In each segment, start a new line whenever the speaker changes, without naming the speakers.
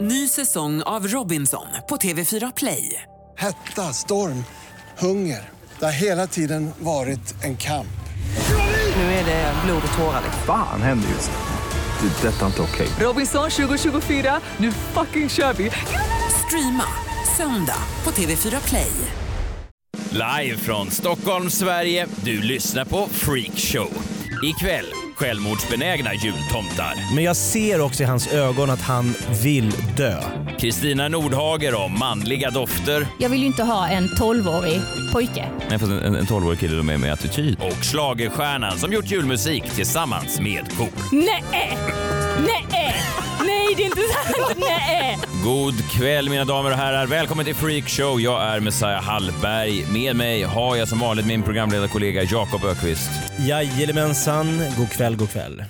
Ny säsong av Robinson på TV4 Play.
Hetta, storm, hunger. Det har hela tiden varit en kamp.
Nu är det blod och tårar.
Fan händer just nu. Det. är Detta är inte okej.
Robinson 2024, nu fucking kör vi! Streama söndag på TV4 Play.
Live från Stockholm, Sverige. Du lyssnar på Freak Show. Ikväll, självmordsbenägna jultomtar.
Men jag ser också i hans ögon att han vill dö.
Kristina Nordhager om manliga dofter.
Jag vill ju inte ha en 12-årig pojke.
Nej, fast en, en 12-årig kille med, med attityd.
Och schlagerstjärnan som gjort julmusik tillsammans med kor.
Nej! Nej! Nej, det är inte sant! Nej!
God kväll mina damer och herrar. Välkommen till Freak Show. Jag är Messiah Hallberg. Med mig har jag som vanligt min programledarkollega Jakob Ökvist.
Jajamensan, god kväll, god kväll.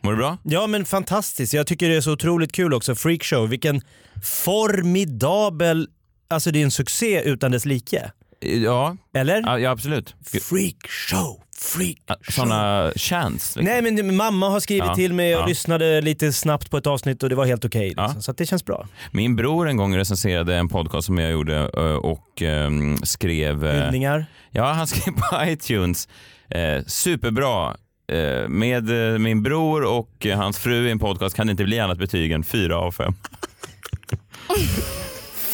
Mår du bra?
Ja men fantastiskt, jag tycker det är så otroligt kul också. Freakshow, vilken formidabel, alltså det är en succé utan dess like.
Ja,
Eller?
ja absolut.
Freakshow, freakshow.
Såna chans. liksom.
Nej men mamma har skrivit
Ja,
till mig och
ja.
lyssnade lite snabbt på ett avsnitt och det var helt okej. liksom.
Ja.
Så att det känns bra.
Min bror en gång recenserade en podcast som jag gjorde eh, och ehm, skrev... eh,
Hyllningar.
Ja, han skrev på iTunes. Eh, superbra. Eh, med eh, min bror och eh, hans fru i en podcast kan det inte bli annat betyg än fyra av fem.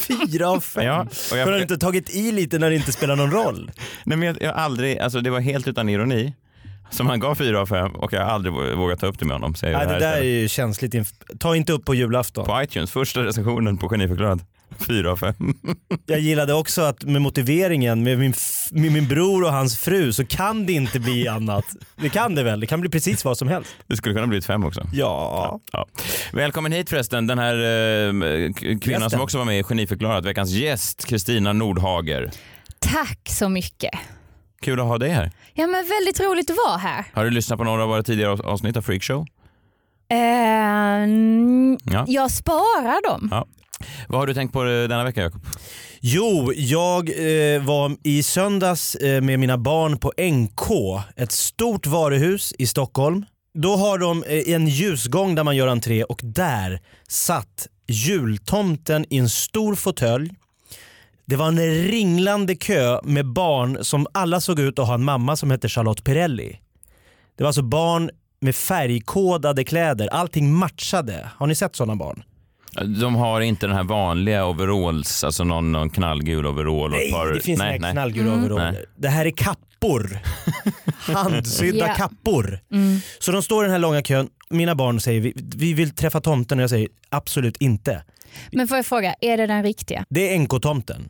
Fyra av fem.
Ja, och jag-
Har du inte tagit i lite när det inte spelar någon roll?
Nej, men jag, jag har aldrig, alltså det var helt utan ironi. Som han gav fyra av fem och jag har aldrig vå- vågat ta upp det med honom. Så jag gör
Nej
det
det
här
där är
istället.
ju känsligt. inf- Ta inte upp på julafton.
På iTunes, första recensionen på Geniförklarad. Fyra av fem.
Jag gillade också att med motiveringen, med min, f- med min bror och hans fru så kan det inte bli annat. Det kan det väl? Det kan bli precis vad som helst.
Det skulle kunna bli ett fem också.
Ja.
Ja. Välkommen hit förresten, den här eh, k- kvinnan
Gästen.
som också var med i Geniförklarat, veckans gäst, Kristina Nordhager.
Tack så mycket.
Kul att ha dig här.
Ja, men väldigt roligt att vara här.
Har du lyssnat på några av våra tidigare av- avsnitt av Freakshow?
Eh, mm,
Ja.
Jag sparar dem.
Ja. Vad har du tänkt på eh, denna vecka Jakob?
Jo, jag eh, var i söndags eh, med mina barn på NK, ett stort varuhus i Stockholm. Då har de eh, en ljusgång där man gör entré och där satt jultomten i en stor fåtölj. Det var en ringlande kö med barn som alla såg ut att ha en mamma som hette Charlotte Pirelli. Det var alltså barn med färgkodade kläder, allting matchade. Har ni sett sådana barn?
De har inte den här vanliga overalls, alltså någon, någon knallgul overall och ett par...
Nej, det finns inga knallgula
Nej.
overaller. Det här är kappor. Handsydda
Ja.
kappor. Så de står i den här långa kön. Mina barn säger vi, vi vill träffa tomten och jag säger absolut inte.
Men får jag fråga, är det den riktiga?
Det är NK-tomten.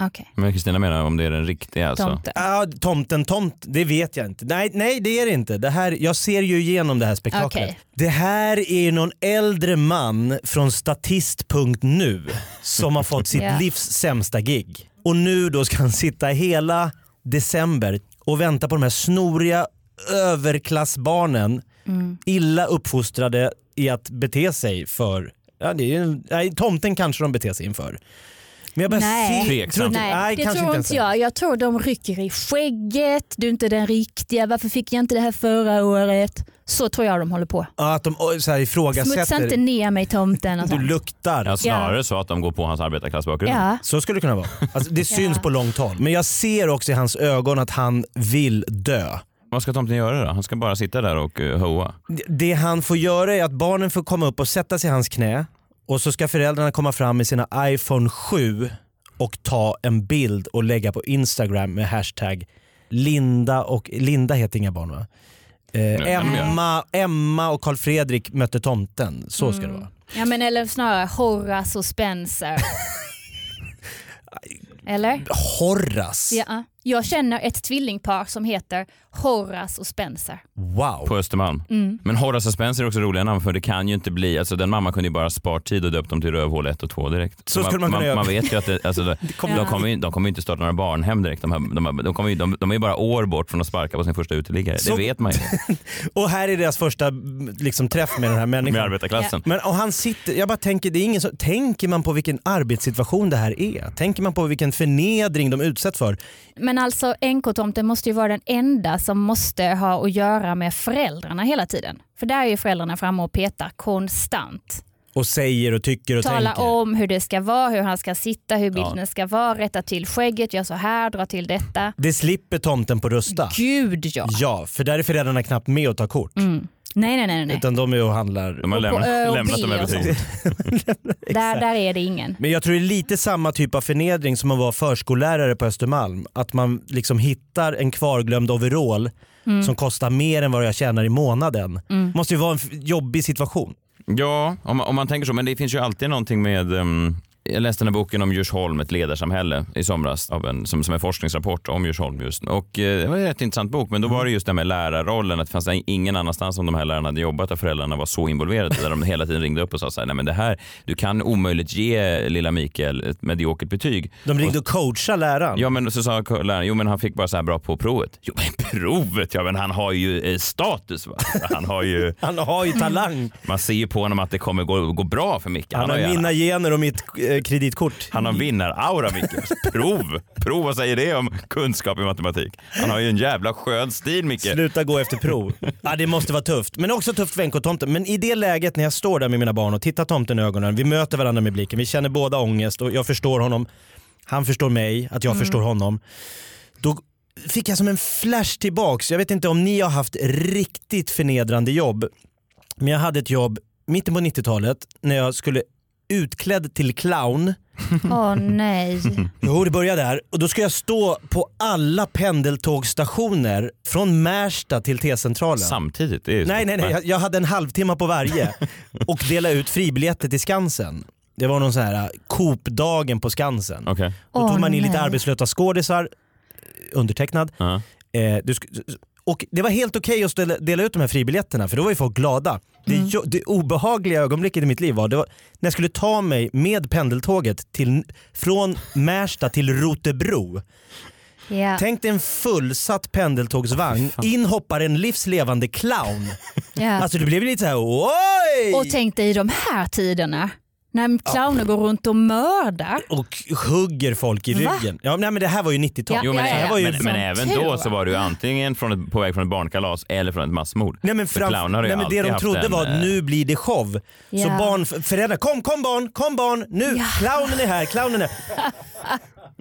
Okej,
Men Kristina menar om det är den riktiga alltså?
tomten.
Ah, tomten tomt, det vet jag inte. Nej, nej det är det inte. Det här, jag ser ju igenom det här spektaklet.
Okej.
Det här är någon äldre man från statist.nu som har fått sitt
Ja.
livs sämsta gig. Och nu då ska han sitta hela december och vänta på de här snoriga överklassbarnen,
Mm.
illa uppfostrade i att bete sig för, ja, det är, ju- nej, tomten kanske de beter sig inför. Men jag bara
Nej.
ser, tror inte,
Nej,
nej,
det
kanske
tror
ens
inte jag. Jag tror de rycker i skägget. Du är inte den riktiga. Varför fick jag inte det här förra året? Så tror jag de håller på.
Ja, att de oj, så här,
Smutsa inte
ifrågasätter.
ner mig tomten. Och
Du
sånt.
luktar.
Ja, snarare så att de går på hans arbetarklassbakgrund.
Ja.
Så skulle det kunna vara. Alltså, det syns på långt håll. Men jag ser också i hans ögon att han vill dö.
Vad ska tomten göra då? Han ska bara sitta där och uh, hoa.
Det- Det han får göra är att barnen får komma upp och sätta sig i hans knä och så ska föräldrarna komma fram med sina iPhone 7 och ta en bild och lägga på Instagram med hashtag Linda och Linda heter inga barn va? Eh,
Nej, men-
Emma, Emma och Karl Fredrik mötte tomten. Så ska
Mm.
det vara.
Ja men eller snarare Horace och Spencer. eller?
Horace.
Ja. ah. Jag känner ett tvillingpar som heter Horace och Spencer.
Wow.
På Östermalm. Men Horace och Spencer är också roliga namn för det kan ju inte bli, alltså den mamman kunde ju bara spart tid och döpt dem till rövhål 1 och 2 direkt.
Så skulle man kunna
man,
göra.
man vet ju att det, alltså, det- de, kommer ju, de kommer ju inte starta några barnhem direkt. De, här, de, här, de, kommer ju, de, de är ju bara år bort från att sparka på sin första uteliggare.
Så-
Det vet man ju.
Och här är deras första liksom, träff med den här
Med
människan.
arbetarklassen.
Men och han sitter, jag bara tänker, det är ingen som, tänker man på vilken arbetssituation det här är? Tänker man på vilken förnedring de utsätts för?
Men alltså NK-tomten måste ju vara den enda som måste ha att göra med föräldrarna hela tiden. För där är ju föräldrarna framme och petar konstant.
och säger och tycker och
Tala
tänker.
om hur det ska vara, hur han ska sitta, hur bilden ska vara, rätta till skägget, gör så här, dra till detta.
Det slipper tomten på Rusta.
Gud Mm. ja.
Ja, för där är föräldrarna knappt med och tar kort.
Nej, nej, nej. nej.
Utan de är och handlar.
De har
Och på
lämnat,
Ö och
lämnat
B
dem över
och
tid.
Där, där är det ingen.
Men jag tror det är lite samma typ av förnedring som att vara förskollärare på Östermalm. Att man liksom hittar en kvarglömd overall
Mm.
som kostar mer än vad jag tjänar i månaden. måste ju vara en f- jobbig situation.
Ja, om man, om man tänker så. Men det finns ju alltid någonting med... ehm, jag läste den här boken om Djursholm, ett ledarsamhälle, i somras av en, som, som en forskningsrapport om Djursholm just. Och, eh, det var en rätt intressant bok, men då var det just det här med lärarrollen. Att det fanns ingen annanstans som de här lärarna hade jobbat där föräldrarna var så involverade. Där de hela tiden ringde upp och sa så här, nej men det här, du kan omöjligt ge lilla Mikael ett mediokert betyg.
De ringde och coachade läraren.
Ja men så sa läraren, jo men han fick bara så här bra på provet. Jo men provet, ja men han har ju eh, status va? Han har ju,
Han har ju talang.
man ser ju på honom att det kommer gå, gå bra för Micke.
Han har
ju-
mina gener och mitt eh, kreditkort.
han har vinnaraura Micke. Prov, prov, vad säger det om kunskap i matematik? Han har ju en jävla skön stil Micke.
Sluta gå efter prov. Ja, det måste vara tufft. Men också tufft för NK-tomten. Men i det läget när jag står där med mina barn och tittar tomten i ögonen, vi möter varandra med blicken, vi känner båda ångest och jag förstår honom. Han förstår mig, att jag förstår honom. Då fick jag som en flash tillbaks. Jag vet inte om ni har haft riktigt förnedrande jobb. Men jag hade ett jobb mitten på 90-talet när jag skulle utklädd till clown
Åh nej.
Jo, det börjar där. Och då ska jag stå på alla pendeltågsstationer från Märsta till T-centralen.
Samtidigt, det är ju
nej, nej, nej. Jag, jag hade en halvtimme på varje och dela ut fribiljetter till Skansen. Det var någon sån här Coop-dagen på Skansen.
Okej.
Då
Åh,
tog man in lite
nej.
arbetslösa skådisar, undertecknad.
Ja.
Eh, du sk- och det var helt okej att ställa, dela ut de här fribiljetterna för då var ju folk glada. Det,
Mm.
jo- det obehagliga ögonblicket i mitt liv var, det var när jag skulle ta mig med pendeltåget till, från Märsta till Rotebro.
Ja.
Tänk dig en fullsatt pendeltågsvagn, in hoppar en livslevande clown.
Ja.
Alltså det blev lite såhär oj!
Och tänk dig i de här tiderna när clowner går runt och mördar.
och hugger folk i
Va?
ryggen. Ja, nej, men det här var ju 90-tal.
Ja,
Jo, men,
det här var ju
men, men även då Mm. så var du ju antingen från ett, på väg från ett barnkalas eller från ett massmord.
Nej men,
För
fram,
clowner har ju
nej, men det
alltid
de
haft
trodde
en,
var
eh,
nu blir det show. Så
Ja.
barn, föräldrar, kom, kom barn, kom barn, nu,
Ja.
clownen är här, clownen är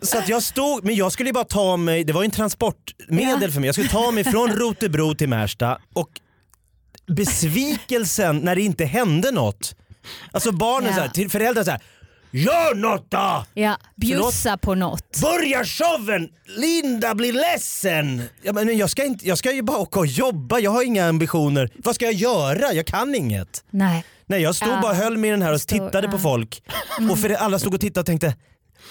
Så att jag stod, men jag skulle ju bara ta mig, det var ju en transportmedel för mig, jag skulle ta mig från Rotebro till Märsta och besvikelsen när det inte hände något. Alltså barnen
Ja.
så här, till föräldrar såhär, gör något då!
Ja. Bjussa på något.
Börja showen! Linda blir ledsen! Ja, men jag, ska inte, jag ska ju bara åka och jobba, jag har inga ambitioner. Vad ska jag göra? Jag kan inget.
Nej.
Nej, jag stod
Ja.
bara och höll mig i den här och
Stod-
tittade på
ja.
folk. Och för det, alla stod och tittade och tänkte,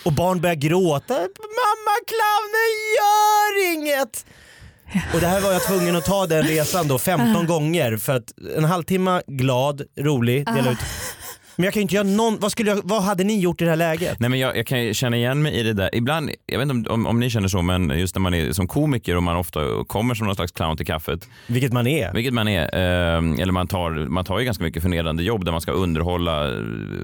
och barn började gråta. Mamma clownen gör inget! Och det här var jag tvungen att ta den resan då 15 gånger för att en halvtimme glad, rolig, dela
Ah.
ut. Men jag kan ju inte göra någon, vad, skulle jag, vad hade ni gjort i det här läget?
Nej men jag, jag kan ju känna igen mig i det där. Ibland, jag vet inte om, om, om ni känner så, men just när man är som komiker och man ofta kommer som någon slags clown till kaffet,
Vilket man är.
vilket man är, eh, eller man tar, man tar ju ganska mycket förnedrande jobb där man ska underhålla eh,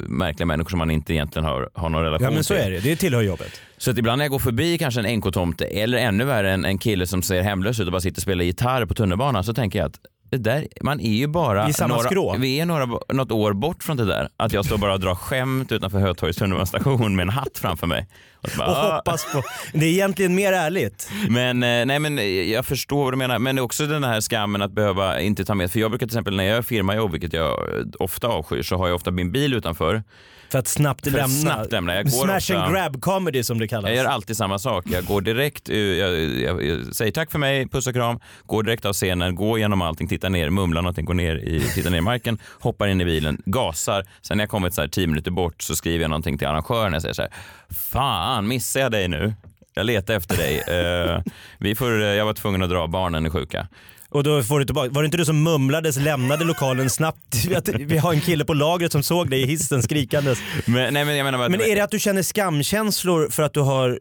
märkliga människor som man inte egentligen har, har någon relation
Ja men så
till.
är det, det tillhör jobbet.
Så att ibland när jag går förbi kanske en NK-tomte eller ännu värre en, en kille som ser hemlös ut och bara sitter och spelar gitarr på tunnelbanan så tänker jag att det där, man är ju bara
Vi är samma skrå.
några, vi är några, något år bort från det där. Att jag står bara och drar skämt utanför Hötorgets tunnelbanestation med en hatt framför mig. Och så bara,
och
"Ah."
hoppas på. Det är egentligen mer ärligt.
Men, eh, nej, men eh, jag förstår vad du menar. Men det är också den här skammen att behöva inte ta med. För jag brukar till exempel när jag gör firmajobb, vilket jag eh, ofta avskyr, så har jag ofta min bil utanför.
För att snabbt
För att
lämna.
snabbt lämna. Jag går
Smash
ofta-
and grab comedy som det kallas.
Jag gör alltid samma sak. Jag går direkt, eh, jag, jag, jag säger tack för mig, puss och kram, går direkt av scenen, går igenom allting, tittar ner, mumlar någonting, går ner i, tittar ner i marken, hoppar in i bilen, gasar. Sen när jag kommit så här tio minuter bort så skriver jag någonting till arrangören. Jag säger så här, fan missar jag dig nu? Jag letar efter dig. Eh, vi får, eh, jag var tvungen att dra, barnen är sjuka.
Och då får du tillbaka. Var det inte du som mumlades, lämnade lokalen snabbt? Vi har- Vi har en kille på lagret som såg dig i hissen skrikandes.
Men, nej, men, jag menar bara, att-
Men är det att du känner skamkänslor för att du har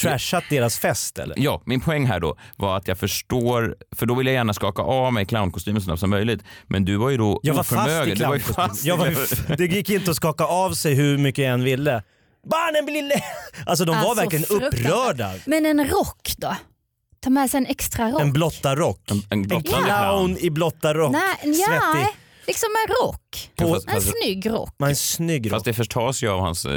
trashat deras fest eller?
Ja, min poäng här då var att jag förstår, för då vill jag gärna skaka av mig clownkostymen så snabbt som möjligt. Men du var ju då
Jag var fast i
oförmögen. Du var ju fast i
clownkostym. Jag var ju f- Det gick inte att skaka av sig hur mycket jag än ville. Barnen blir le- Alltså de var
Alltså,
verkligen
fruktansvärt.
upprörda.
Men en rock då? Ta med sig en extra rock.
En blotta rock.
en blottande
Clown i blotta rock.
Nej, nej.
Svettig. Alltså,
Liksom en rock.
Ja,
På,
fast-
En snygg rock.
man är snygg rock.
Fast det förtas ju av hans eh,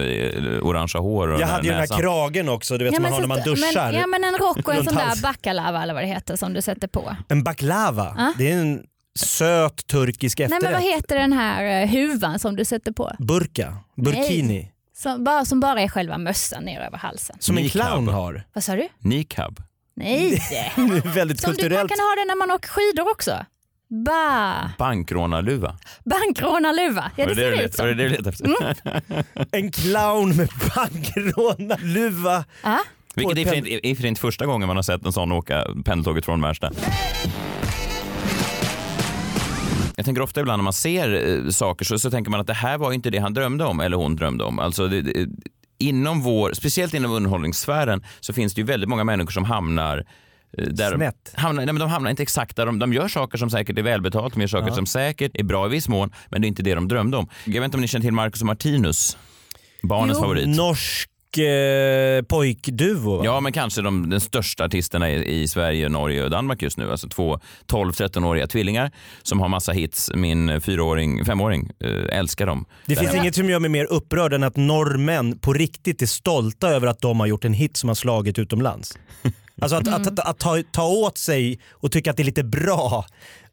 orangea hår och
Jag
den här
hade ju den här
näsan.
kragen också, du vet som man har när man
fast-
duschar.
Men, ja men en rock och en
Runt
sån där
halsen.
baklava eller vad det heter som du sätter på.
En baklava,
Ah.
det är en söt turkisk
Nej
efterrätt.
men vad heter den här eh, huvan som du sätter på?
Burka, burkini,
Som bara, som bara är själva mössan ner över halsen.
som en
Niqab.
clown har.
Vad sa du?
Niqab.
Nej!
Det är väldigt
som du, man
kulturellt.
kan ha det när man åker skidor också. Ba,
Bankrånarluva.
bankrånarluva. Ja
Var
det ser
du
det
let-
ut
var det
som.
det du letade efter?
En clown med bankrånarluva.
Ja.
Vilket är för inte- är för inte första gången man har sett en sån åka pendeltåget från Märsta. Jag tänker ofta ibland när man ser eh, saker så, så tänker man att det här var ju inte det han drömde om eller hon drömde om. Alltså, det, det, inom vår, speciellt inom underhållningssfären så finns det ju väldigt många människor som hamnar eh, där,
Snett.
Hamnar, nej men de hamnar inte exakt där de, de gör saker som säkert är välbetalt, de gör saker som säkert är bra i viss mån, men det är inte det de drömde om. Jag vet inte om ni känner till Marcus och Martinus, barnens
Jo.
favorit.
Norsk eh, pojkduo. va?
Ja, men kanske de, de största artisterna i, i Sverige, Norge och Danmark just nu. Alltså två 12-13-åriga tvillingar som har massa hits. Min fyraåring, femåring eh, älskar dem.
Det
Där
finns
hemma.
inget som gör mig mer upprörd än att norrmän på riktigt är stolta över att de har gjort en hit som har slagit utomlands. Alltså att, att, att, att ta, ta åt sig och tycka att det är lite bra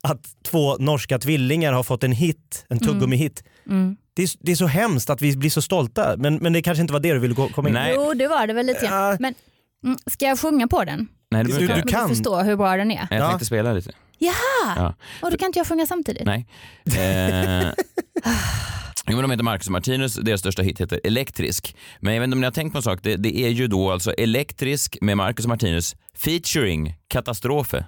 att två norska tvillingar har fått en hit,
Mm.
en tuggummi-hit. Det, är, det är så hemskt att vi blir så stolta, men, men det kanske inte var det du ville gå- komma in på.
Nej.
Jo det var det väl lite grann.
Ja.
Men mm, ska jag sjunga på den?
Nej, det
Du-
behöver
du-
inte.
Om
kan.
du förstår hur bra den är.
Jag
Ja.
tänkte spela lite.
Jaha!
Ja.
Och då kan inte jag sjunga samtidigt?
Nej. Eh, Jo, men de heter Marcus och Martinus, deras största hit heter Elektrisk. Men jag vet inte om ni har tänkt på en sak, det, det är ju då alltså Elektrisk med Marcus och Martinus featuring Katastrofe.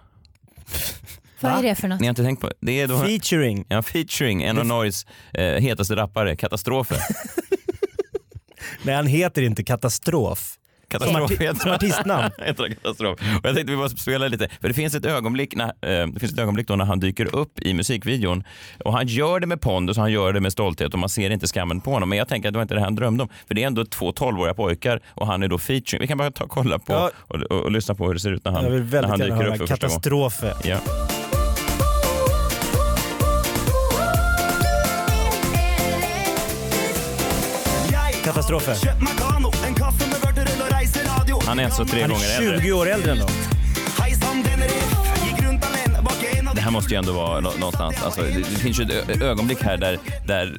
Vad
Va?
är det för något?
Ni har inte tänkt på det? är då...
Featuring.
Ja, featuring en av Norges eh, hetaste rappare, Katastrofe.
Nej, han heter inte Katastrof.
Katastrof
Som arti-
heter
som
han.
artistnamn.
heter han katastrof. Och jag tänkte vi bara spela lite, för det finns ett ögonblick, när, eh, det finns ett ögonblick då när han dyker upp i musikvideon och han gör det med pondus och han gör det med stolthet och man ser inte skammen på honom. Men jag tänker att det var inte det han drömde om, för det är ändå två 12-åriga pojkar och han är då featuring. Vi kan bara ta och kolla på
Ja.
och, och, och lyssna på hur det ser ut när han,
Jag vill
när han
väldigt gärna
dyker upp
höra
för första gången.
Katastrofe.
Ja.
Katastrofe.
Han är alltså tre
Han
gånger
är
äldre.
20 år äldre än dem.
Det här måste ju ändå vara nå- någonstans, alltså, det, det finns ju ett ö- ögonblick här där, där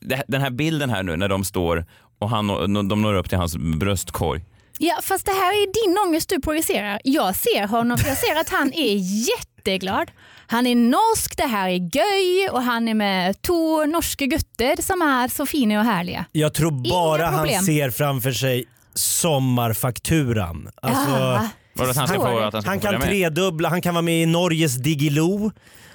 det- den här bilden här nu när de står och han, nå- de når upp till hans bröstkorg.
Ja fast det här är din ångest du projicerar. Jag ser honom, jag ser att han är jätteglad. Han är norsk, det här är göj och han är med två norske gutter som är så fina och härliga.
Jag tror bara
Inga problem.
han ser framför sig sommarfakturan. Alltså,
Ah,
Var det att han ska
förstår
få
du?
att han ska
han
få följa
kan
med?
tredubbla, han kan vara med i Norges Digilo.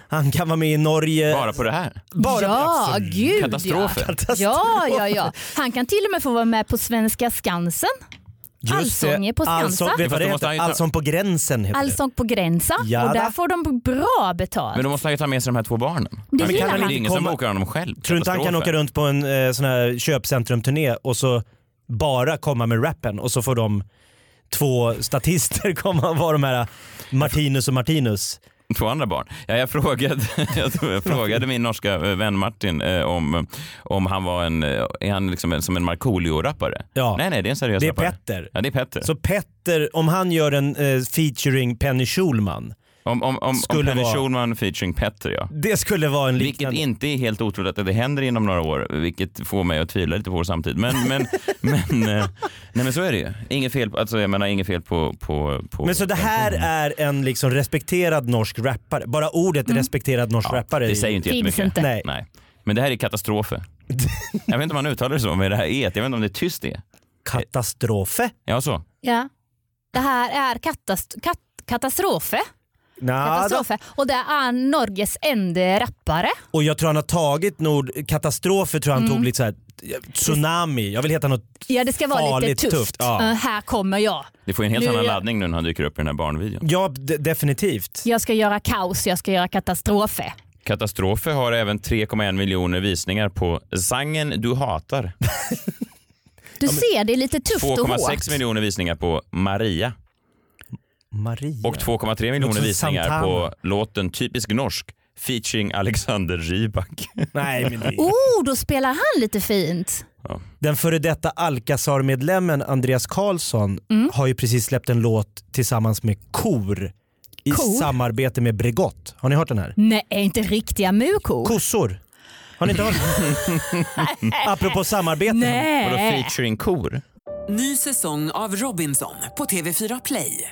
Han kan vara med i Norge...
Bara på det här?
Bara-
ja,
absolut.
gud
Katastrofer.
Ja. ja, ja, ja. Han kan till och med få vara med på Svenska Skansen.
Just
Allsånger
det.
på Skansen.
Allsång, Alltså, vet du
Fast
vad det
då måste
heter?
han ju ta-
Allsång på gränsen heter
Allsång på gränsen
Ja,
och där
va?
får de bra betalt.
Men då måste han ju ta med sig de här två barnen.
det
men kan
gillar
han
han.
Det är ingen som
komma-
bokar honom själv.
det. Tror du inte han kan åka
Katastrofen.
runt på en eh, sån här köpcentrumturné och så bara komma med rappen och så får de två statister komma och vara de här Martinus och Martinus.
Två andra barn. Ja, jag, frågade, jag tror jag frågade min norska eh, vän Martin eh, om, om han var en, eh, är han liksom en, som en Markoolio-rappare?
Ja.
Nej, nej, det är en seriös
Det är
rappare.
Petter.
Ja, det är Petter.
Så Petter, om han gör en eh, featuring Penny Schulman,
om om, om, om
skulle
Penny
vara-
Schulman featuring Petter, ja.
det skulle vara en
Vilket
liknande...
inte är helt otroligt att det händer inom några år, vilket får mig att tvivla lite på vår samtid. Men, men, men, eh, nej, men så är det ju. Inget fel, på- alltså, jag menar, inget fel på, på, på...
Men så det här är en liksom respekterad norsk rappare? Bara ordet
Mm.
respekterad norsk rappare.
Det säger ju inte
Finns
jättemycket.
inte.
Nej.
Nej. Men det här är katastrofer. jag vet inte om man uttalar det så, men det här är ett. Jag vet inte om det är tyst det.
Katastrofe?
Ja, så.
Ja. Det här är katast- kat- katastrofe.
Nada.
katastrofe. Och det är Norges enda rappare.
Och jag tror han har tagit nord... Katastrofer tror jag han
Mm.
tog lite såhär... Tsunami. Jag vill heta något
Ja, det ska vara
farligt
lite tufft.
Ja.
Eh, här kommer jag.
Det får ju en helt
Nu är
annan
jag-
laddning nu när han dyker upp i den här barnvideon.
Ja, de- definitivt.
Jag ska göra kaos, jag ska göra katastrofe.
Katastrofer har även 3,1 miljoner visningar på Sangen du hatar.
Du ser, det är lite tufft och hårt.
2,6 miljoner visningar på Maria.
Maria.
Och 2,3 miljoner
Också
visningar
Santana. Mm.
på låten Typisk norsk featuring Alexander Rybak.
Nej, men det...
Oh, då spelar han lite fint.
Den före detta Alcazar-medlemmen Andreas Karlsson
Mm.
har ju precis släppt en låt tillsammans med kor i
Kor?
samarbete med Bregott. Har ni hört den här?
Nej, inte riktiga mukor.
Kossor. Har ni inte hört den? Apropå samarbete.
Vadå
Nej.
featuring kor?
Ny säsong av Robinson på TV4 Play.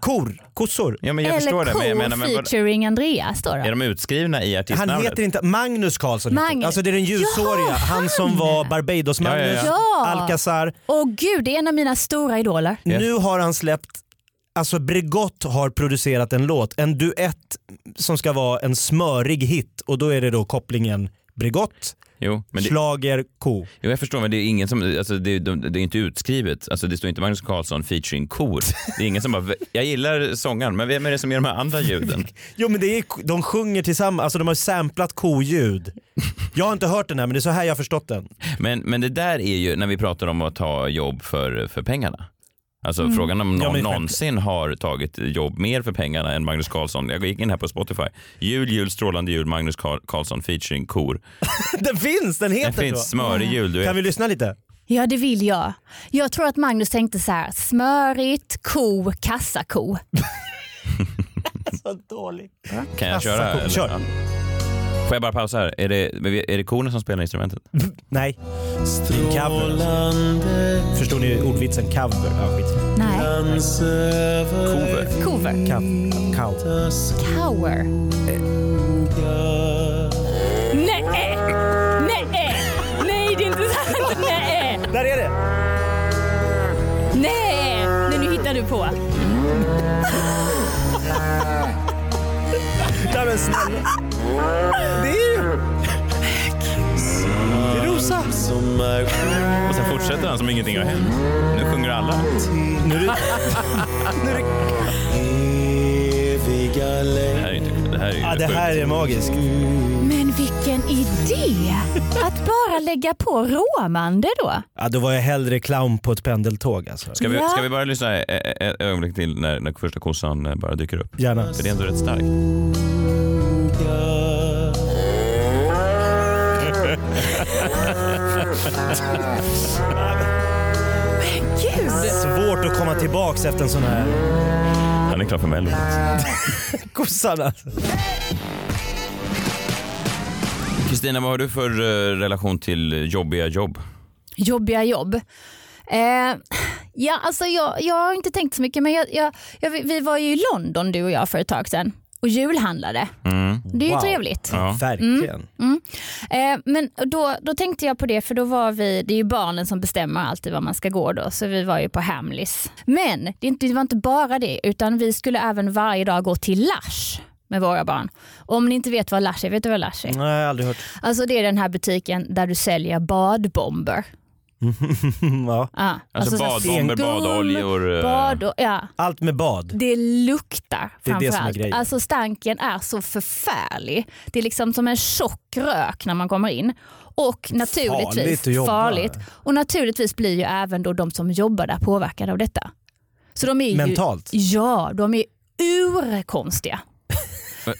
Kor. Kossor.
Ja, men jag
Eller
förstår det. Men jag
kor
menar, men vad,
featuring Andreas då.
är
då.
de utskrivna i
Han
artistnamnet?
heter inte Magnus Karlsson. heter-
Magnus.
Alltså det är den ljushåriga.
Jaha,
Han som var Barbados-Magnus.
Mm. Ja, ja,
ja. Ja.
Alcazar.
Åh gud, det är en av mina stora idoler.
Ja.
Nu har han släppt, alltså Bregott har producerat en låt, en duett som ska vara en smörig hit och då är det då kopplingen Bregott,
Jo, men det,
schlager, ko.
jo, jag förstår, men det är ingen som... Alltså, det, det, det är inte utskrivet. Alltså, det står inte Magnus Carlsson featuring kor. Det är ingen som bara... Jag gillar sångaren, men vem är det som gör de här andra ljuden?
Jo men det är, de sjunger tillsammans, alltså de har samplat koljud. Jag har inte hört den här men det är så här jag har förstått den.
Men, men det där är ju när vi pratar om att ta jobb för, för pengarna. Alltså frågan om
Mm. Ja,
någon
men
någonsin har tagit jobb mer för pengarna än Magnus Carlsson. Jag gick in här på Spotify. Jul, jul, strålande jul, Magnus Carl- Carlsson featuring kor.
Den finns, den
Det
heter
finns
så.
smörig jul, du
Mm. Kan
vet.
vi lyssna lite?
Ja, det vill jag. Jag tror att Magnus tänkte så här, smörigt, ko, kassako.
Så dåligt.
Kan jag
Kassa
köra?
kor.
eller?
Kör.
Ja. Får jag bara pausa här? Är det, men vi- är det korna som spelar instrumentet?
Nej. Det är en cover. Förstod ni ordvitsen? Cover. Ja, skit.
Nej,
Cover.
cover.
Cover. Cover.
Cower. Nej, nej, nej det är inte sant. Nej,
Där är det!
nej, men nu hittar du på.
Nej men snälla. Det är ju... Det är Rosa.
Och sen fortsätter han som ingenting har hänt. Nu sjunger alla.
Nu är det...
Det här är ju inte... Det här är ju
Ja, det här
sjukt.
är magiskt.
Men vilken idé! Att bara lägga på råmande då.
Ja, då var jag hellre clown på ett pendeltåg alltså.
Ska vi,
Ja.
ska vi bara lyssna ett, ett ögonblick till när, när första kossan eh, bara dyker upp?
Gärna.
För det är ändå rätt starkt.
Gud!
Svårt att komma tillbaks efter en sån här...
Han är klar för Mello.
Kossan alltså.
Kristina, vad har du för eh, relation till jobbiga jobb?
Jobbiga jobb. Eh, ja, alltså jag, jag har inte tänkt så mycket men jag, jag, jag, vi var ju i London du och jag för ett tag sedan och julhandlade. Det är ju
Mm. Wow.
trevligt. Mm.
Ja.
Verkligen.
Eh, men då, då tänkte jag på det, för då var vi, det är ju barnen som bestämmer alltid var man ska gå då, så vi var ju på Hamleys. Men det, är inte, det var inte bara det, utan vi skulle även varje dag gå till Lush med våra barn. Om ni inte vet vad Lush är, vet du vad Lush är?
Nej, jag har aldrig hört.
Alltså det är den här butiken där du säljer badbomber.
Mm, ja.
Ja,
Alltså,
så-
badbomber, badoljor. eh,
Bad och, ja,
Allt med bad.
det luktar
Det är det som är
framförallt.
grejen.
alltså stanken är så förfärlig. Det är liksom som en tjock rök när man kommer in. Och naturligtvis,
Farligt att jobba.
Och naturligtvis blir ju även då de som jobbar där påverkade av detta. Så de är ju,
Mentalt?
Ja, de är urkonstiga.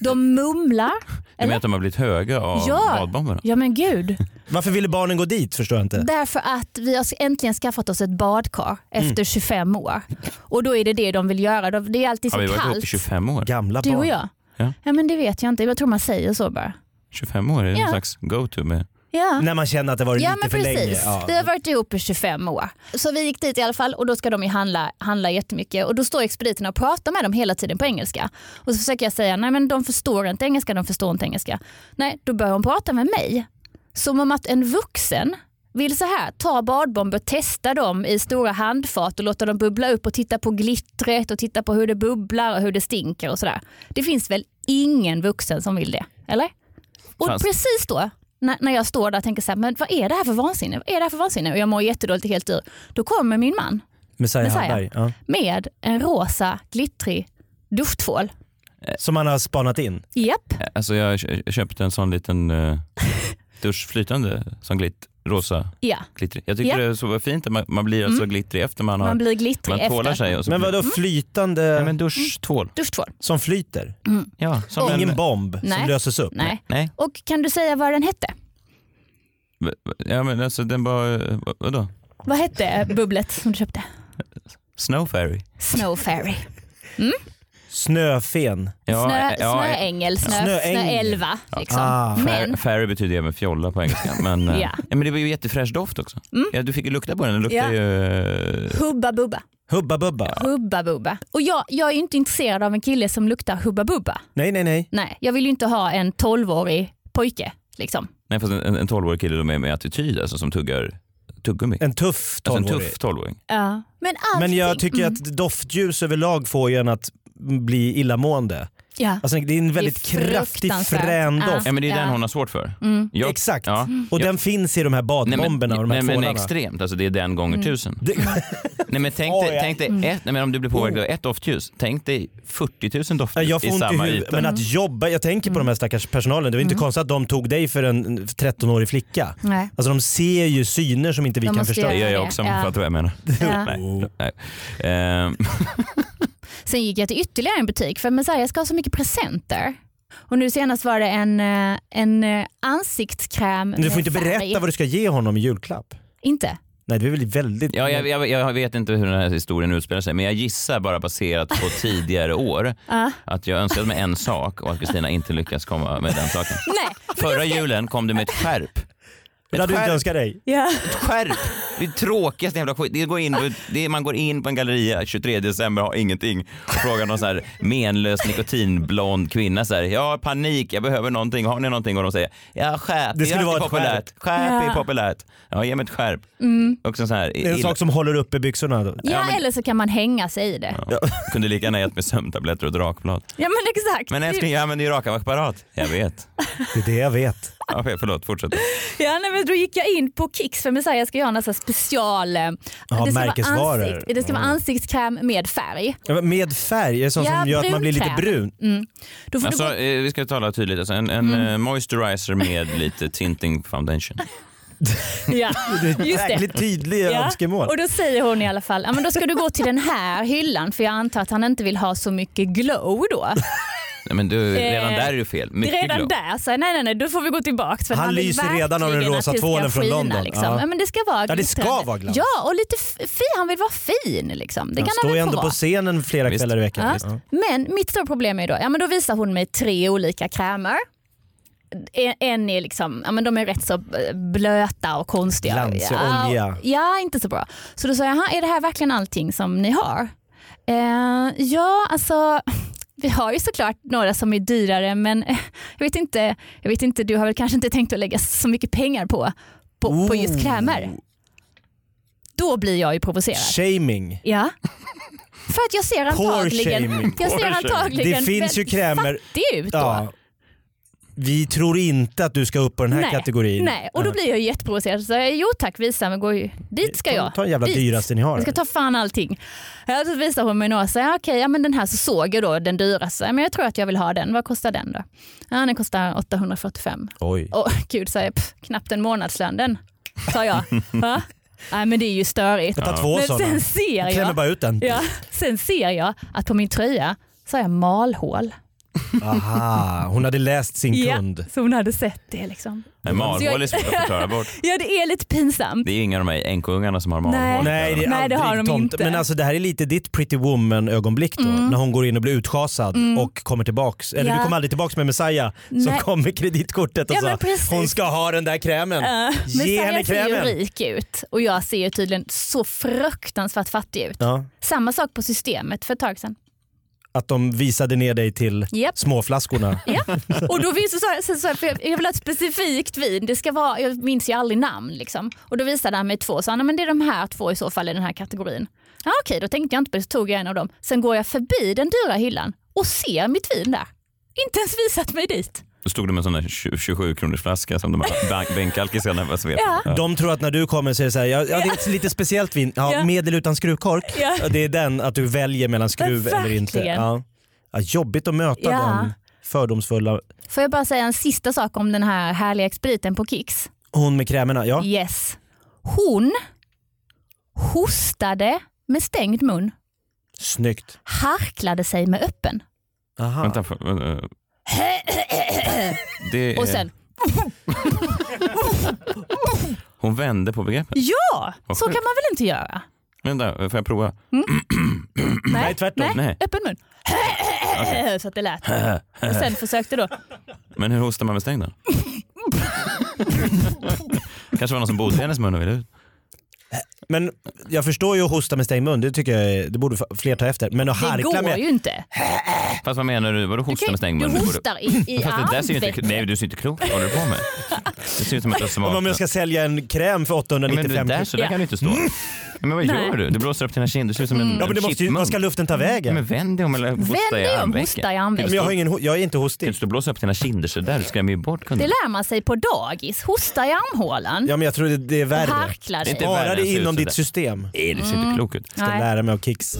De mumlar.
Du menar att de har blivit höga av
Ja.
badbomberna?
Ja men gud.
Varför ville barnen gå dit förstår jag inte.
Därför att vi har äntligen skaffat oss ett badkar efter 25 år. Och då är det det de vill göra. De- Det är alltid så
Har vi varit ihop
kallt.
i 25 år?
Gamla
Du
barn.
och jag?
Ja.
Ja. men det vet jag inte. Jag tror man säger så bara.
25 år är det
Ja.
någon slags go-to med
Ja.
När man känner att det varit
ja,
lite
men
för
precis.
länge. Ja.
Vi har varit ihop i 25 år. Så vi gick dit i alla fall och då ska de ju handla, handla jättemycket och då står expediterna och pratar med dem hela tiden på engelska. Och så försöker jag säga, nej men de förstår inte engelska, de förstår inte engelska. Nej, då börjar hon prata med mig. Som om att en vuxen vill så här, ta badbomber, testa dem i stora handfat och låta dem bubbla upp och titta på glittret och titta på hur det bubblar och hur det stinker och sådär. Det finns väl ingen vuxen som vill det, eller? Och
Fast-
precis då, när, när jag står där och tänker så här, men vad är det här för vansinne? Vad är det här för vansinne? Och jag mår jättedåligt helt ur. Då kommer min man
Messiah,
Messiah.
Hallberg. Ja.
med en rosa glittrig dufttvål.
Som han har spanat in.
Japp.
Alltså jag kö- köpte en sån liten uh, duschflytande som glitt, rosa
Ja.
glittrig. Jag tycker
Ja. Mm.
det är så fint att man, man blir alltså glittrig efter man har...
Man blir glittrig
man tvålar
efter.
sig och så
Men
blir-
vadå
Mm.
flytande...
Nej men duschtvål.
Duschtvål.
Som flyter?
Ja, som en...
Ingen bomb
Nej.
som löses upp?
Nej.
Nej.
Och kan du säga vad den hette?
Ja men alltså den bara, eh, vad- vadå?
Vad hette bubblet som du köpte?
Snow fairy?
Snow Fairy.
Snöfen?
Ja,
Snö,
eh, ja, eh,
snöängel, snö,
Snöängel.
snöelva. Liksom.
Ah.
Men
Fair- Fairy betyder ju även fjolla på engelska. Men, eh,
Ja. Mm.
men det var ju jättefräsch doft också. Ja, du fick ju lukta på den. Den luktar
Ja.
ju... eh,
hubba bubba.
Hubba Bubba?
Hubba bubba. Och jag, jag är ju inte intresserad av en kille som luktar hubba bubba.
Nej, nej, nej.
Nej, jag vill ju inte ha en 12-årig pojke. Liksom.
Nej fast en- en en 12-årig kille då med, med attityd alltså som tuggar tuggummi.
En tuff
alltså en
tolvårig.
tuff 12-åring.
Ja. Men allting.
Men jag tycker
Mm.
att doftljus överlag får ju en att bli illamående.
Ja.
Alltså det är en väldigt kraftig
fruktansvärt.
frän
Ja.
doft.
Ja men det är den
Ja.
hon har svårt för.
Mm.
Jag-
Exakt.
Ja.
Och
Jag-
den finns i de här
Nej, men,
badbomberna och de här
nej, men
tvålarna.
extremt, alltså det är den
Mm.
gånger tusen. Nej men tänk
Oj,
dig,
ja.
tänk dig ett, nej, men om du blir påverkad av
Mm.
ett doftljus, tänk dig 40 000
Ja,
doftljus
Jag
i
får ont i
samma
huvudet,
yta.
men att jobba, jag tänker på de här
Mm.
stackars personalen, det var ju inte konstigt att de tog dig för en 13-årig flicka.
Nej.
Alltså de ser ju syner som inte vi
De
kan
måste
förstå.
Det gör jag
det,
också om
ja.
du fattar vad jag menar.
Ja.
Nej, nej. Ehm,
Sen gick jag till ytterligare en butik för men så här, jag ska ha så mycket presenter. Och nu senast var det en, eh, en eh, ansiktskräm.
Men Du får
med
inte
färg.
berätta vad du ska ge honom i julklapp.
Inte?
Nej det är väl väldigt...
ja, jag, jag, jag vet inte hur den här historien utspelar sig men jag gissar bara baserat på tidigare år att jag önskade mig en sak och att Kristina inte lyckas komma med den saken.
Nej.
Förra julen kom du med ett skärp.
det hade du inte önskat dig.
Ja.
Skärp! Det är tråkigaste jävla skit. Det går in, det är, man går in på en galleria 23 december och har ingenting och frågar någon så här menlös nikotinblond kvinna så här, jag har panik, jag behöver någonting, har ni någonting? Och de säger, ja skärp,
Det
är
skulle vara
alltid
ett
populärt.
skärp.
Skärp
Ja.
är populärt. Ja, ge mig ett skärp. Och så så här,
Det är en
illa-
sak som håller uppe byxorna. då.
Ja,
men-
eller så kan man hänga sig i det. Ja,
Ja. Kunde lika gärna gett mig sömntabletter och drakblad.
men exakt.
Men älskling, jag använder ju rakapparat. Jag vet.
Det är det jag vet.
Ja, förlåt, fortsätt.
Ja, nej, men då gick jag in på Kicks för Messiah ska göra en sån här special... eh,
märkesvaror.
Vara ansikt, det ska vara ansiktskräm med färg.
Ja, men Med färg, är sånt
Ja, Mm.
som gör att man blir lite
brunkräm.
brun.
Då får
Alltså,
du gå...
eh, vi ska tala tydligt. Alltså, en en
Mm.
eh, moisturizer med lite tinting foundation.
ja, just det.
Jäkligt tydliga
Ja,
önskemål.
Och då säger hon i alla fall, ja, men då ska du gå till den här hyllan för jag antar att han inte vill ha så mycket glow då.
Nej, men du,
Eh,
redan där är du fel. Mycket
redan
glow.
där säger nej nej nej, då får vi gå tillbaka. För
Han
vill
lyser redan av den
verkligen
rosa
att det ska
tvålen från
skina,
London.
Liksom.
Ja.
Ja. men det ska vara
Ja, det ska
glittrande.
vara glans.
Ja, och lite f- fin, han vill vara fin liksom. Det
Han
kan
står ju
han väl få
ändå
vara.
på scenen flera
Visst.
kvällar i veckan.
Ja. Men mitt stora problem är då, ja men då visar hon mig tre olika krämer. En- En är liksom, ja men de är rätt så eh, blöta och konstiga.
Glans och
ja,
olja.
Ja, inte så bra. Så då sa jag, "Jaha, är det här verkligen allting som ni har? Eh, ja, alltså vi har ju såklart några som är dyrare men eh, jag vet inte, jag vet inte du har väl kanske inte tänkt att lägga så mycket pengar på, på, på just krämer? Då blir jag ju provocerad.
Shaming.
Ja. För att jag ser antagligen,
shaming.
jag
Poor
ser
shaming.
antagligen
Det finns ju
väldigt
krämer-
fattig ut då.
Ja. Vi tror inte att du ska upp på den här
Nej,
kategorin.
Nej, och då blir jag ju jätteprovocerad. Så jag, jo tack, visa mig. Gå ju. Dit ska
Ta-
jag.
ta den jävla
Dit.
dyraste ni har.
Jag ska ta fan allting. Ja, Så visar hon mig några. Så, ja, okej, ja, men den här så såg jag då den dyraste. Men jag tror att jag vill ha den. Vad kostar den då? Ja, den kostar 845.
Oj.
Åh gud, säger jag. Pff, knappt en månadslön den. Sa jag. Va? Nej men det är ju störigt.
Jag tar två
Men
sådana.
sen ser
Jag klämmer
jag
bara ut den.
Ja, sen ser jag att på min tröja så har jag malhål.
Aha, hon hade läst sin kund.
Ja, så hon hade sett det liksom.
Nej, Marvhål är svårt att förklara bort.
ja, det är lite pinsamt.
Det är inga av de här änkorungarna som har marhål.
Nej.
Nej, det, är
Nej, det
aldrig
har de
tomt.
inte.
Men alltså det här är lite ditt pretty woman ögonblick då.
Mm.
När hon går in och blir utschasad
Mm.
och kommer tillbaks. Eller
Ja.
du kommer aldrig tillbaks med Messiah. Så
Nej.
kommer kreditkortet och
Ja, men
sa
precis.
hon ska ha den där krämen.
Eh, men
Ge henne
Sarah ser ju
krämen.
rik ut och jag ser ju tydligen så fruktansvärt fattig ut.
Ja,
Samma sak på systemet för ett tag sedan.
att de visade ner dig till
Japp.
småflaskorna.
Ja. Och då finns det så här, så så här, för jag, jag vill ha ett specifikt vin. Det ska vara, jag minns ju aldrig namn. Liksom. Och då visade han mig två och sa "Nej, men det är de här två i så fall i den här kategorin. Ja, okej, då tänkte jag inte på det så tog jag en av dem. Sen går jag förbi den dyra hyllan och ser mitt vin där. Inte ens visat mig dit.
Då stod det med en sån där 27-kronors flaska som de här bank- bänkhalkisarna var svepta.
Ja.
De tror att när du kommer så är det så här, ja, ja, det är ett lite speciellt vin. Ja,
Ja.
Medel utan skruvkork.
Ja.
Det är den att du väljer mellan skruv eller inte.
verkligen.
Ja. Ja, jobbigt att möta
Ja.
den fördomsfulla.
Får jag bara säga en sista sak om den här härliga expediten på Kicks?
Hon med krämerna, ja.
Yes. Hon hostade med stängd mun,
Snyggt.
harklade sig med öppen.
Aha.
Vänta, för, eh, det är,
Och sen,
Hon vände på begreppet.
ja,
Vad
så kan
sjukt.
man väl inte göra?
Vänta, får jag prova?
Nej, tvärtom.
Nej.
Öppen mun. Så att det lät. Och sen försökte då.
Men hur hostar man med stängden? Kanske var någon som bodde i hennes mun och ville ut.
Men jag förstår ju att hosta med stängd mun, det tycker jag är- det borde fler ta efter. Men att
Det
harkla
går
med...
ju inte.
Fast vad menar du? Vadå
Du,
hosta
kan,
med stängd
du
mun? Det borde-
hostar i, i
Fast det där ser ju inte,
ansiktet.
nej, du ser inte klok ut. Vad håller du på med? Det ser ut som ett
Om
automat.
jag ska sälja en kräm för
Ja, men det
895
där,
kronor.
så där kan du inte stå. Men vad
Nej.
gör du? Du blåser upp dina kinder. Du ser ut som en
Ja men det måste ju,
chipmunk. Mm,
vad ska luften ta vägen?
Men
Men,
vänd dig om eller hosta i
dig om,
armvecken.
hosta i armvecken.
Kan du
jag, har
stå-
ingen, ho- jag är inte
kan du
hostig.
stå och blåsa upp dina kinder så där? Du skrämmer ju bort
Det
kunderna.
lär man sig på dagis. Hosta i armhålan.
Ja men jag tror det, det är
och
värre.
harkla
Det är
dig.
inte
Spara
värre
det
än så ut så
inom ditt
där.
system.
Nej, det ser inte klok ut.
Ska
Nej.
lära mig av Kicks.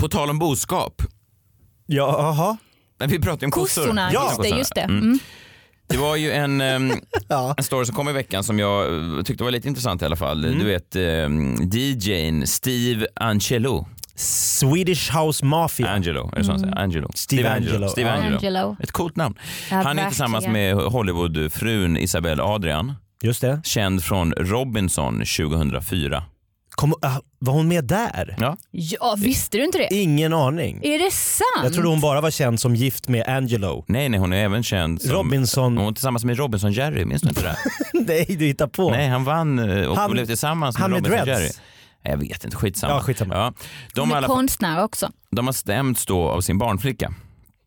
På tal om boskap.
Jaha.
Nej, Vi pratade ju om kossor.
Kossorna,
Ja.
just det. Just det.
Mm.
Mm.
Det var ju en, ehm,
Ja.
en story som kom i veckan som jag eh, tyckte var lite intressant i alla fall.
Mm.
Du vet um, DJn Steve Angelo.
Swedish House Mafia.
Angelo, är det så han säger? Angelo.
Mm. Steve Angelo.
Steve
Ja.
Angelo.
Angelo.
Ett coolt namn.
Ja,
Han är tillsammans med
verkligen.
Hollywoodfrun Isabelle Adrian,
Just det.
känd från Robinson 2004.
Kom, ah, var hon med där?
Ja.
Ja, visste du inte det?
Ingen aning.
Är det sant?
Jag trodde hon bara var känd som gift med Angelo.
Nej, nej, hon är även känd som...
Robinson.
Hon är tillsammans med Robinson-Jerry, minns du inte det?
Nej, du hittar på.
Nej, han vann eh, och
Han-
blev tillsammans
han
med
med
Robinson-Jerry.
dreads?
Jag vet inte, skitsamma.
Ja, skitsamma.
Ja. De,
Hon
har i
är
alla fall,
konstnär också.
de har stämts då av sin barnflicka.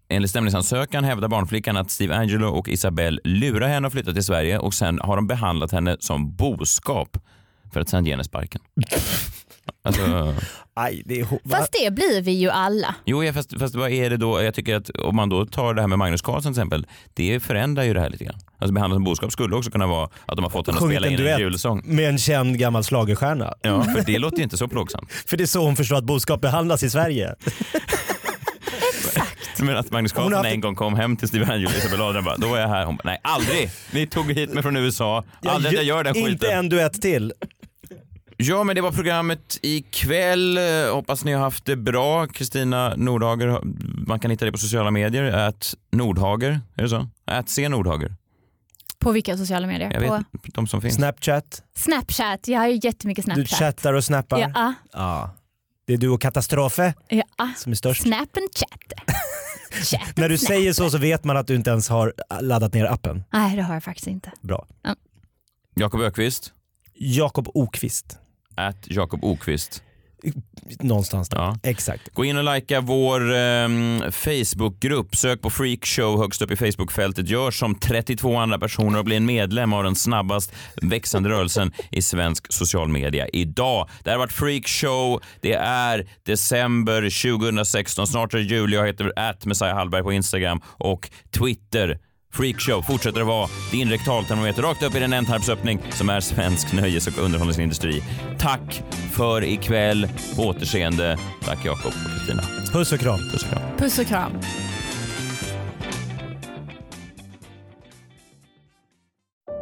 Enligt stämningsansökan hävdar barnflickan att Steve Angelo och Isabelle lurar henne att flytta till Sverige och sen har de behandlat henne som boskap för att sen ge henne sparken. Alltså,
Aj, det är ho- va?
Fast det blir vi ju alla.
jo, ja, fast, fast vad är det då? Jag tycker att om man då tar det här med Magnus Carlsen till exempel, det förändrar ju det här lite grann. Alltså behandlas som boskap skulle också kunna vara att de har fått henne att
Sjungit
spela
en
in en
duett
julsång.
med en känd gammal schlagerstjärna.
Ja, för det låter ju inte så plågsamt.
För det är så hon förstår att boskap behandlas i Sverige.
Men att Magnus
Hon
Carlsson
har haft-
en gång kom hem till Steven Angelo och Isabella Adrian bara, då var jag här. Hon bara, nej aldrig! Ni tog hit mig från USA. Aldrig att jag gör den skiten.
Inte en duett till.
Ja men det var programmet ikväll. Eh, Hoppas ni har haft det bra. Kristina Nordhager, har- man kan hitta det på sociala medier. Att Nordhager, är det så? Att se Nordhager.
På vilka sociala medier?
Jag
På
vet inte, de som finns.
Snapchat.
Snapchat. Jag har ju jättemycket
Du
Snapchat.
chattar och snappar. Ja.
Ja,
Det är du och Katastrofe
ja.
som är störst.
Snapchat. Chat.
När du säger så så vet man att du inte ens har laddat ner appen.
Nej, det har jag faktiskt inte.
Bra.
Jakob Ökvist.
Jakob Okvist.
Att Jakob Okvist.
Någonstans där.
Ja.
Exakt.
Gå in och likea vår ehm, Facebookgrupp. Sök på Freakshow högst upp i Facebookfältet. Gör som 32 andra personer och bli en medlem av den snabbast växande rörelsen i svensk social media idag. Det här har varit Freakshow. Det är december 2016. Snart är det jul. Jag heter att Messiah Hallberg på Instagram och Twitter. Freakshow fortsätter att vara din rektaltermometer rakt upp i den ändtarmsöppning som är svensk nöjes och underhållningsindustri. Tack för ikväll. På återseende. Tack Jakob och Kristina.
Puss och kram.
Puss och kram.
Puss och kram.